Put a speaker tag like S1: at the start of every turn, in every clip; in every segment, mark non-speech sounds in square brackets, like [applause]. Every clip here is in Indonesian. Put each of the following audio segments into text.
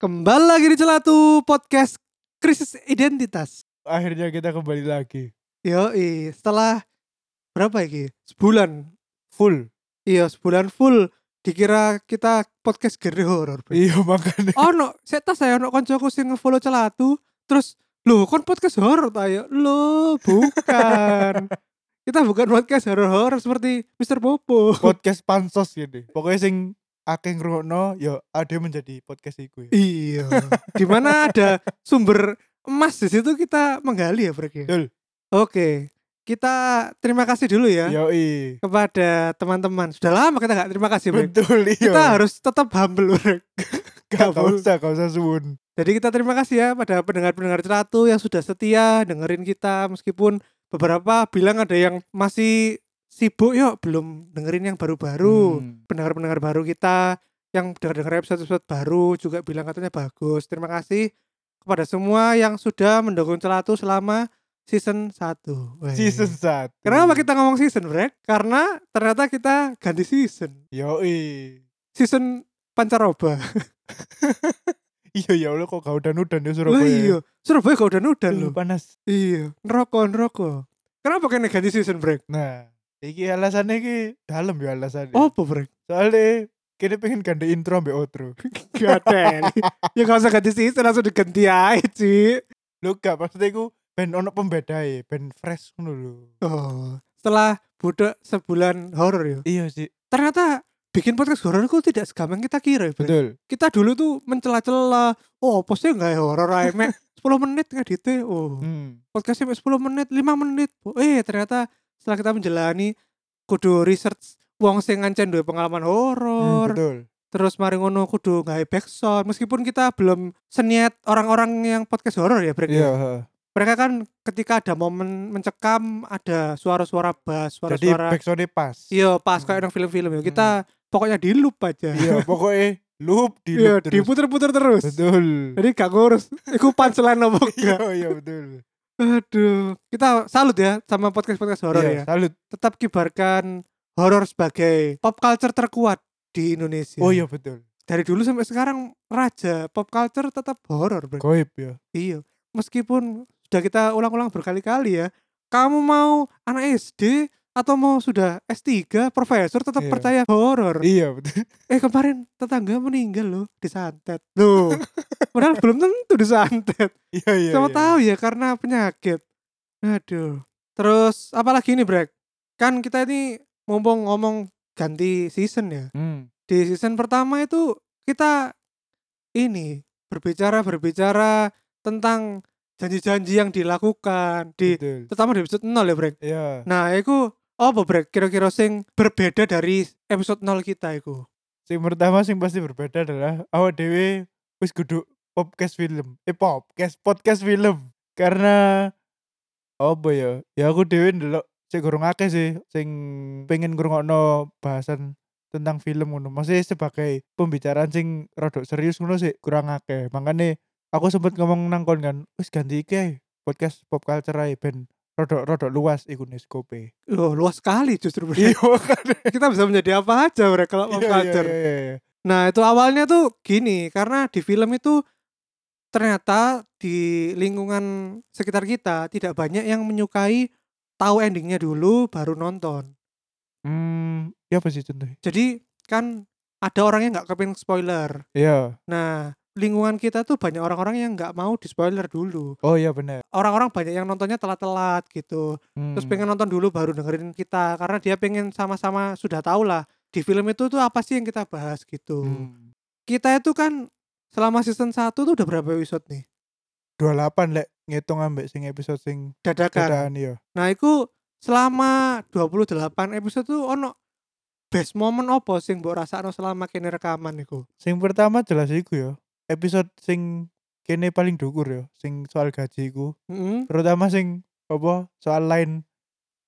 S1: Kembali lagi di Celatu Podcast Krisis Identitas.
S2: Akhirnya kita kembali lagi.
S1: Yoi, setelah berapa ya Ki? Sebulan.
S2: Full.
S1: Iya, sebulan full. Dikira kita podcast genre horor. Bro.
S2: Iya makanya.
S1: Oh no, saya tas saya no koncoku sing nge-follow Celatu. Terus, loh kon podcast horor ta ya? Loh, bukan. kita bukan podcast horor-horor seperti Mr. Popo.
S2: Podcast pansos gini. Pokoknya sing akeh ngrungokno ya ada menjadi podcast iku ya.
S1: iya. Dimana ada sumber emas di situ kita menggali ya, Bro. Ki?
S2: Betul.
S1: Oke. Kita terima kasih dulu ya.
S2: Iya. Yoi.
S1: kepada teman-teman. Sudah lama kita nggak terima kasih, Brek.
S2: Betul iya.
S1: Kita harus tetap humble,
S2: [laughs]
S1: Brek.
S2: gak, gak
S1: gabul.
S2: usah, gak usah suwun.
S1: Jadi kita terima kasih ya pada pendengar-pendengar celatu yang sudah setia dengerin kita meskipun beberapa bilang ada yang masih sibuk yuk belum dengerin yang baru-baru.
S2: Hmm.
S1: Pendengar-pendengar baru kita yang dengar-dengar episode-episode baru juga bilang katanya bagus. Terima kasih kepada semua yang sudah mendukung celatu selama season 1. Weh.
S2: Season 1.
S1: Kenapa kita ngomong season, Brek? Karena ternyata kita ganti season.
S2: Yoi.
S1: season pancaroba.
S2: Iya ya Allah kok gak udan-udan ya Surabaya. Hmm.
S1: Lah iya, Surabaya kok udah nudan
S2: Duh,
S1: loh.
S2: panas.
S1: Iya, neroko neroko. Kenapa kena ganti season break?
S2: Nah, iki alasannya iki dalam ya alasannya.
S1: Apa break?
S2: Soalnya kini pengen ganti intro ambek outro.
S1: [laughs] Gak ada. Eli. ya gak usah ganti season langsung diganti aja sih.
S2: Lho gak maksudnya iku ben ono pembedae, ben fresh ngono lho.
S1: Oh, setelah budek sebulan horor ya.
S2: Iya sih.
S1: Ternyata bikin podcast horor itu tidak segampang kita kira. ya, Brek.
S2: Betul.
S1: Kita dulu tuh mencela-cela. Oh, postnya nggak ya horor ae,
S2: [laughs]
S1: Mek. 10 menit ngeditnya. Oh.
S2: Hmm.
S1: podcastnya sampai 10 menit, 5 menit. Oh, eh ternyata setelah kita menjalani kudu research wong sing ngancen duwe pengalaman
S2: Hmm,
S1: horor.
S2: betul.
S1: terus mari ngono kudu gawe backsound meskipun kita belum seniat orang-orang yang podcast horor ya Brek.
S2: Iya,
S1: ya.
S2: heeh.
S1: Mereka kan ketika ada momen mencekam ada suara-suara bass,
S2: Jadi
S1: suara-suara
S2: backsoundnya pas.
S1: iya pas kayak nang film-film ya. Kita pokoknya di loop aja.
S2: Hmm. Iya, pokoknya loop di
S1: Iya,
S2: loop terus.
S1: diputer-puter terus.
S2: Betul.
S1: Jadi gak ngurus. Iku punchline apa
S2: [laughs] Iya,
S1: enggak.
S2: iya betul.
S1: Aduh, kita salut ya sama podcast-podcast horor ya.
S2: Iya, salut.
S1: tetap kibarkan horor sebagai pop culture terkuat di Indonesia.
S2: Oh iya betul.
S1: Dari dulu sampai sekarang raja pop culture tetap horor, Bro.
S2: Goib ya.
S1: Iya. Meskipun sudah kita ulang-ulang berkali-kali ya, kamu mau anak SD atau mau sudah S3 profesor tetap
S2: Iya.
S1: percaya horor.
S2: Iya betul. [laughs]
S1: Eh kemarin tetangga meninggal loh disantet. Loh.
S2: [laughs]
S1: Padahal belum tentu disantet.
S2: Iya iya.
S1: Siapa
S2: iya.
S1: tahu ya karena penyakit. Aduh. Terus apalagi ini Brek? Kan kita ini mumpung ngomong ganti season ya.
S2: Hmm.
S1: Di season pertama itu kita ini berbicara berbicara tentang janji-janji yang dilakukan di
S2: Betul.
S1: terutama di episode 0 ya Brek.
S2: Iya.
S1: Nah, itu apa Brek kira-kira sing berbeda dari episode 0 kita itu?
S2: Sing pertama sing pasti berbeda adalah awak dewe wis kudu podcast film. Eh podcast podcast film. Karena apa ya? Ya aku dewe ndelok sing gorong akeh sih sing pengen ngrungokno bahasan tentang film ngono. Masih sebagai pembicaraan sing rodok serius ngono sih kurang akeh. Makanya aku sempat ngomong nang kon kan, wis ganti iki ae, podcast pop culture ae ben rodok rodok luas iku nih skope.
S1: Loh, luas sekali justru Brek.
S2: Iya makanya.
S1: [laughs] kita bisa menjadi apa aja Brek kalau mau
S2: Iya, iya,
S1: culture.
S2: iya, iya.
S1: Nah itu awalnya tuh gini karena di film itu ternyata di lingkungan sekitar kita tidak banyak yang menyukai tahu endingnya dulu baru nonton.
S2: Hmm, ya apa sih contohnya?
S1: Jadi kan ada orang yang nggak kepingin spoiler.
S2: Iya.
S1: Nah lingkungan kita tuh banyak orang-orang yang nggak mau di spoiler dulu.
S2: Oh iya benar.
S1: Orang-orang banyak yang nontonnya telat-telat gitu.
S2: Hmm.
S1: Terus pengen nonton dulu baru dengerin kita karena dia pengen sama-sama sudah tahu lah di film itu tuh apa sih yang kita bahas gitu.
S2: Hmm.
S1: kita itu kan selama season 1 tuh udah berapa episode nih?
S2: 28 lek ngitung ambek sing episode sing
S1: Dadakan.
S2: keadaan ya.
S1: Nah, itu selama 28 episode tuh ono best moment opo sing mbok rasakno selama kene rekaman iku.
S2: Sing pertama jelas iku ya. Episode sing kene paling dukur ya, sing soal gaji iku.
S1: Heeh.
S2: Terutama sing apa soal lain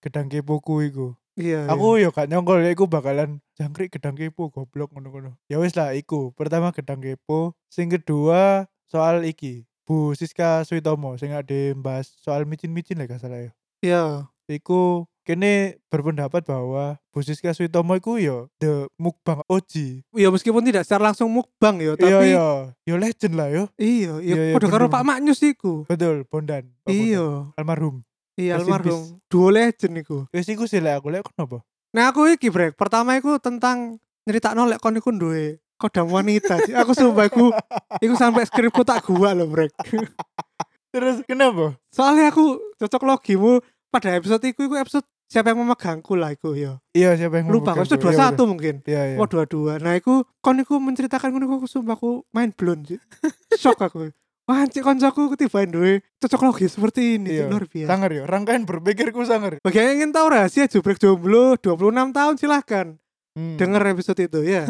S2: gedang kepoku iku.
S1: Iya.
S2: aku yo gak nyongkol ya iku bakalan jangkrik gedang kepo goblok ngono-ngono ya wis lah iku pertama gedang kepo sing kedua soal iki Bu Siska Suitomo sing ada bahas soal micin-micin lah gak salah ya
S1: iya.
S2: iku kene berpendapat bahwa Bu Siska Suitomo iku yo the mukbang OG
S1: Iya meskipun tidak secara langsung mukbang ya,
S2: iya
S1: tapi
S2: yo yo legend lah yo
S1: iya, iya,
S2: Iya, iya,
S1: padha karo
S2: bener.
S1: Pak Maknyus iku.
S2: betul Oh, Bondan Pak Bondan.
S1: Iya,
S2: almarhum
S1: iya
S2: Rest in
S1: almarhum. Duo legend iku.
S2: wis iku sih lek aku lek kenapa
S1: Nah aku iki break pertama iku tentang nyerita nolak kon iku duwe kodam wanita. Ci. aku sumpah iku iku sampai skripku tak gua loh break.
S2: terus kenapa
S1: [laughs] Soalnya aku cocok logimu pada episode iku iku episode siapa yang memegangku lah iku ya.
S2: iya siapa yang
S1: Lupa aku
S2: memegang
S1: episode
S2: Bu? Iya,
S1: 21 mungkin.
S2: betul. iya iya
S1: Wah 22. Nah iku kon iku menceritakan ngono iku aku sumpah aku main blown sih. Shock aku. Wah cik koncoku ketibain duwe cocok logis seperti ini Ci.
S2: Iya.
S1: luar biasa.
S2: sangar yo rangkaian berpikirku sangar
S1: Bagi yang ingin tahu rahasia Jubrek Jomblo 26 tahun silahkan
S2: Hmm.
S1: denger episode itu
S2: [laughs]
S1: ya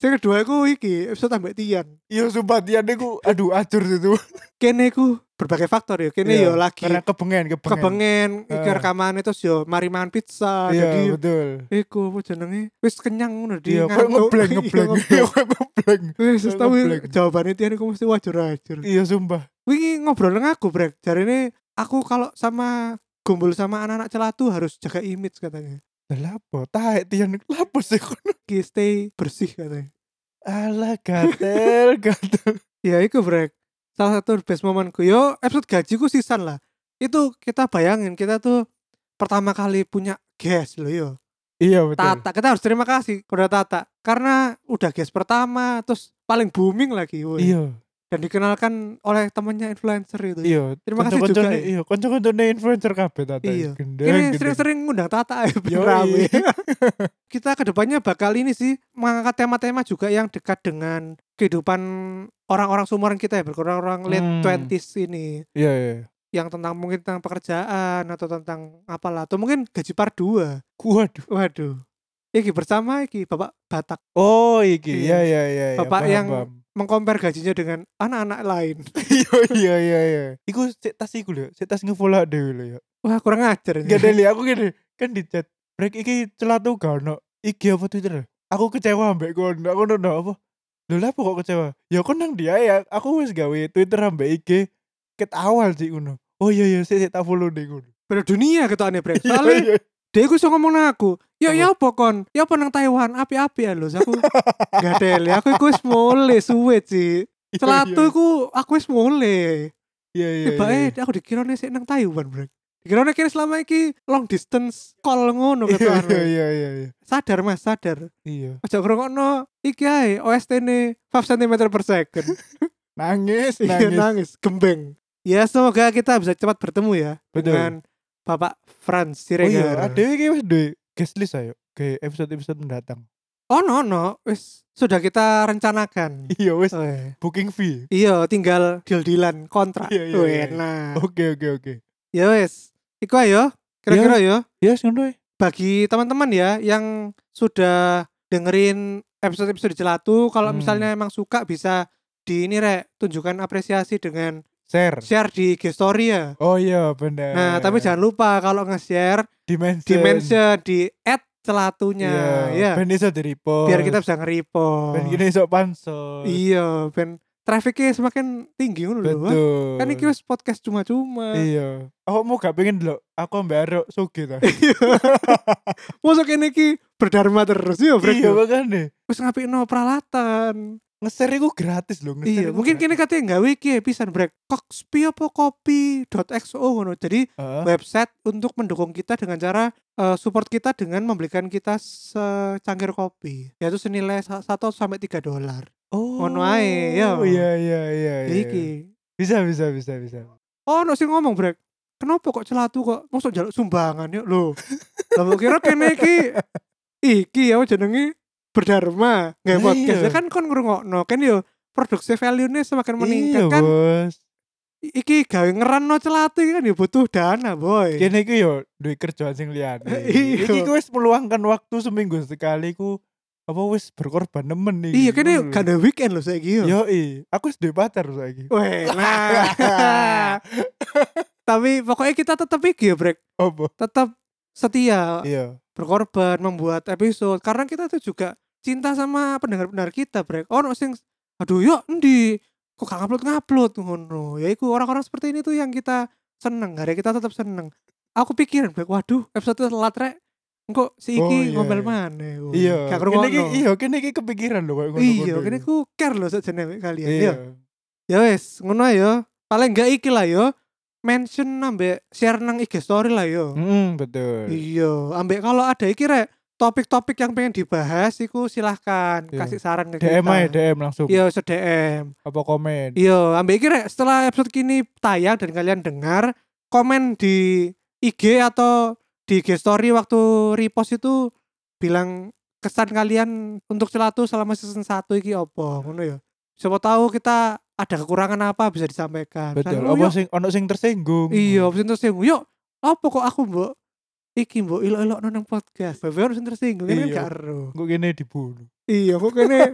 S1: yang kedua aku iki episode tambah tian
S2: Iya sumpah Tian iku aduh acur itu.
S1: kene aku berbagai faktor ya kene yo
S2: Iya,
S1: lagi
S2: Karena kebengen kebengen.
S1: kepengen iki
S2: Eh.
S1: rekaman itu yo mari mangan pizza
S2: Iya
S1: jadi
S2: betul.
S1: iku apa jenenge wis kenyang ngono di
S2: [laughs] Iya kok
S1: [laughs]
S2: ngebleng ngebleng. Iya kok ngebleng.
S1: wis
S2: Kok
S1: tau
S2: ngebleng.
S1: jawabannya tian aku mesti wajur wajur
S2: Iya sumpah.
S1: wingi ngobrol dengan aku brek jarine aku kalau sama gumbul sama anak-anak celatu harus jaga image katanya
S2: Lah lapo tahe Tian iku lapo sih kono.
S1: Ki, stay bersih katanya
S2: Alah gatel [laughs] gatel.
S1: Ya itu brek Salah satu best momenku Yo episode gajiku season lah Itu kita bayangin Kita tuh pertama kali punya guest loh yo
S2: Iya betul.
S1: Tata kita harus terima kasih kepada Tata Karena udah guest pertama Terus paling booming lagi woy.
S2: Iya
S1: Dan dikenalkan oleh temennya influencer itu
S2: iya.
S1: Terima kasih juga,
S2: Kanca-kancane-
S1: ya.
S2: Iya kanca-kancane influencer kabeh tata.
S1: Iya.
S2: Gendeng.
S1: Ini
S2: gendeng.
S1: sering-sering ngundang Tata ya, biar
S2: Yoi. [laughs]
S1: rame. Kita kedepannya bakal ini sih Mengangkat tema-tema juga yang dekat dengan Kehidupan orang-orang sumuran kita ya Orang-orang late
S2: Hmm.
S1: 20s ini
S2: Iya iya.
S1: yang tentang mungkin tentang pekerjaan atau tentang apalah atau mungkin gaji par dua
S2: Waduh.
S1: waduh iki bersama iki bapak Batak
S2: Oh iki.
S1: Iya.
S2: Iya iya iya. iya.
S1: Bapak
S2: Paham,
S1: yang- [laughs]
S2: paham.
S1: mengkompar gajinya dengan anak-anak lain
S2: Iya iya iya iya. Iku sik tas iku lho. Sik tas ngefollow dhewe lho ya.
S1: wah kurang ajar
S2: Gak
S1: ini
S2: ada li, aku gini kan di chat break iki celatu gak ono IG apa Twitter aku kecewa ambek kono aku nono apa lho lah apa kok kecewa ya aku nang dia ya aku wis gawe Twitter ambek IG ket awal sih ngono oh iya iya sik sik tak follow deh ngono
S1: beda dunia gitu aneh brek
S2: [laughs] Iya,
S1: soalnya
S2: iya.
S1: dia gue so ngomong nang aku ya
S2: Apa?
S1: ya apa kon ya apa nang Taiwan api-api ya lho Terus
S2: [laughs]
S1: aku gak tele aku iku wis mulai suwe sih
S2: Iya,
S1: celatu aku aku wis mulai
S2: iya iya iya,
S1: tiba
S2: iya.
S1: eh aku dikira nih sik nang Taiwan brek dikira nih kira selama iki long distance call ngono
S2: iya iya
S1: gitu
S2: iya iya iya
S1: sadar mas sadar
S2: iya
S1: Ojo ngrungokno iki ae OST-ne 5 cm per
S2: [laughs]
S1: second.
S2: nangis Oh,
S1: Iya
S2: nangis
S1: nangis gembeng. Ya semoga kita bisa cepat bertemu ya
S2: betul
S1: dengan Bapak Franz
S2: oh iya
S1: Siregar.
S2: ada iki wis duwe guest list ayo kayak episode episode mendatang
S1: oh no no, wis sudah kita rencanakan.
S2: iya wis
S1: Weh.
S2: [laughs] booking fee
S1: Iya, tinggal deal-dealan kontrak.
S2: Iya, iya,
S1: Weh,
S2: iya.
S1: nah.
S2: oke oke oke
S1: Ya wis, iku ayo. Kira-kira yo
S2: yes ngono ya
S1: bagi teman-teman ya yang sudah dengerin episode-episode Jelatu kalau
S2: Hmm.
S1: misalnya emang suka bisa di ini rek tunjukkan apresiasi dengan
S2: share
S1: share di IG story ya.
S2: Oh iya benar.
S1: Nah, tapi jangan lupa kalau nge-share
S2: dimension.
S1: di mention di add celatunya ya.
S2: Iya. Ben iso di-repost.
S1: Biar kita bisa
S2: ben
S1: nge-repost.
S2: gini iso pansos.
S1: Iya, ben trafficnya semakin tinggi ngono lho. Wah,
S2: Betul.
S1: Kan iki wis podcast cuma-cuma.
S2: Iya. Aku mau gak pengen lho. Aku mbak Arok sugi [laughs] ta.
S1: Mosok kene iki berdharma terus ya,
S2: iya
S1: Bro.
S2: makane.
S1: Wis ngapikno peralatan.
S2: Ngeser iku gratis lho. ngeser
S1: Iya,
S2: iku
S1: mungkin
S2: gratis.
S1: kene katanya gawe iki ya, pisan brek. Kokspi apa kopi.xo ngono. Jadi
S2: Heeh.
S1: website untuk mendukung kita dengan cara eh, support kita dengan membelikan kita secangkir kopi yaitu senilai 1 sampai 3 dolar.
S2: Oh.
S1: ngono ae, iya.
S2: Iya iya iya.
S1: Ya
S2: iya.
S1: Iki.
S2: Bisa bisa bisa bisa.
S1: Oh, no sing ngomong brek. Kenapa kok celatu kok mosok jaluk sumbangan yuk lho. Lah mbok kira kene iki iki ya jenenge berdharma nggak
S2: Lah
S1: podcast
S2: iya.
S1: Ya kan kon ngrungokno kan yo produksi value-nya semakin meningkat
S2: Iya,
S1: kan
S2: Bos.
S1: I- iki gawe ngeran no celatu iki kan ya butuh dana boy
S2: Kene iku yo duwe kerjaan sing liyane.
S1: [laughs] Iya.
S2: Iki ku wis meluangkan waktu seminggu sekali ku apa wis berkorban nemen iki.
S1: iya kene
S2: Ngono lho.
S1: gak ada weekend lho saiki yo
S2: Hmm. Yo i, aku sudah pacar lagi.
S1: [laughs] Weh,
S2: [laughs]
S1: nah. Tapi pokoknya kita tetap iki ya, Brek.
S2: Apa?
S1: Tetap setia
S2: Iya.
S1: berkorban membuat episode karena kita tuh juga cinta sama pendengar-pendengar kita brek ono sing aduh yuk endi kok gak ngupload ngupload ngono ya iku orang-orang seperti ini tuh yang kita seneng hari kita tetap seneng aku pikir brek waduh episode itu telat rek engko si iki
S2: Oh, iya,
S1: ngomel
S2: iya.
S1: maneh ngono.
S2: iya
S1: gak
S2: kene iki
S1: ngerungokno.
S2: iya kene iki kepikiran lho kayak ngono-ngono
S1: iya
S2: iku.
S1: kene ku care loh sakjane ambek kalian
S2: iya
S1: yo ya wes ngono yo paling gak iki lah yo mention ambek share nang IG story lah ya. yo
S2: Mm, betul
S1: Iya, ambek kalau ada iki rek topik-topik yang pengen dibahas iku silahkan
S2: Iya.
S1: kasih saran ke kita.
S2: DM aja DM langsung
S1: Iya, se DM.
S2: apa komen
S1: Iya, ambek iki rek setelah episode kini tayang dan kalian dengar, komen di IG atau di IG story waktu repost itu bilang kesan kalian untuk Celatu selama season 1 iki opo ngono ya. Siapa tahu kita ada kekurangan apa bisa disampaikan.
S2: betul
S1: Misalnya, "Oh,
S2: apa
S1: yuk,
S2: sing ono sing tersinggung
S1: Iya, sing tersinggung. Yuk, apa kok aku mbok iki mbok ilok-ilok nang podcast. Bae harus tersinggung kan
S2: Iya.
S1: gak ero.
S2: kok kene dibunuh
S1: Iya, kok
S2: [laughs]
S1: kene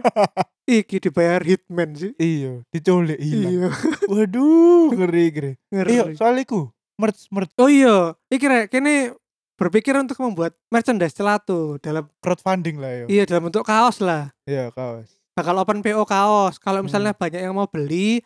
S1: iki dibayar hitman sih.
S2: iya dicolek hilang
S1: Iya,
S2: waduh ngeri ngeri iya
S1: ngeri.
S2: soal iku merch merch
S1: Oh iya, iki rek kene berpikir untuk membuat merchandise celatu dalam
S2: crowdfunding lah ya
S1: iya dalam bentuk kaos lah.
S2: iya kaos
S1: Bakal open PO kaos. Kalau misalnya
S2: Hmm.
S1: banyak yang mau beli,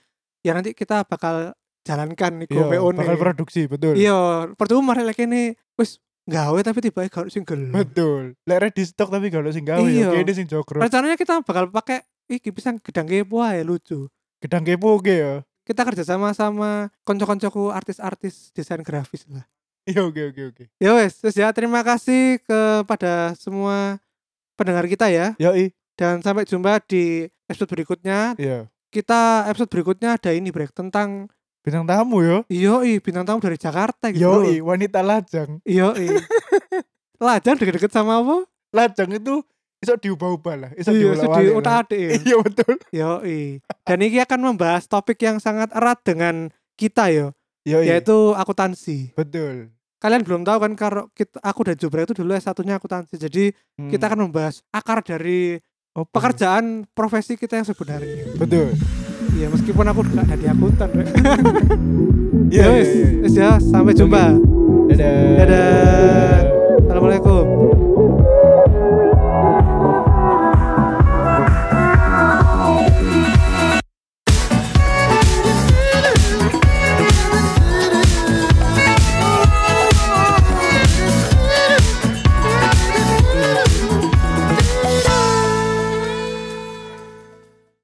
S1: ya nanti kita bakal jalankan iku
S2: iya
S1: PO ne.
S2: bakal produksi betul
S1: Iya, percuma rek kene wis gawe tapi tiba-tiba gak ada sing gelem.
S2: Betul. Lek di stok tapi gak ono sing gawe
S1: Iya.
S2: ya. Kene sing jogro.
S1: rencananya kita bakal pakai iki pisang gedang kepo ya lucu
S2: Gedang kepo oke ya.
S1: kita kerja sama sama konco-koncoku artis-artis desain grafis lah
S2: Iya oke oke oke.
S1: ya wes terus ya terima kasih kepada semua pendengar kita ya
S2: Ya i.
S1: dan sampai jumpa di episode berikutnya
S2: Iya.
S1: kita episode berikutnya ada ini break tentang
S2: Bintang tamu yo.
S1: yoi bintang tamu dari Jakarta gitu
S2: Yo i, wanita lajang.
S1: yoi lajang deket-deket sama apa
S2: Lajang itu iso diubah-ubah lah, iso
S1: iya
S2: diubah-ubah.
S1: sedih utak adik
S2: [laughs] Iya betul.
S1: yoi dan ini akan membahas topik yang sangat erat dengan kita ya. yo
S2: Yo i.
S1: yaitu akuntansi.
S2: betul.
S1: Kalian belum tahu kan kalau kita aku dan Jubra itu dulu S1-nya akuntansi. Jadi
S2: Hmm.
S1: kita akan membahas akar dari
S2: Apa?
S1: pekerjaan profesi kita yang sebenarnya.
S2: Hmm. Betul.
S1: Ya meskipun aku nggak jadi akuntan. Rek.
S2: Iya
S1: [laughs] Ya
S2: iya
S1: wis,
S2: iya.
S1: wis ya, sampai jumpa.
S2: Dadah.
S1: Dadah. Assalamualaikum.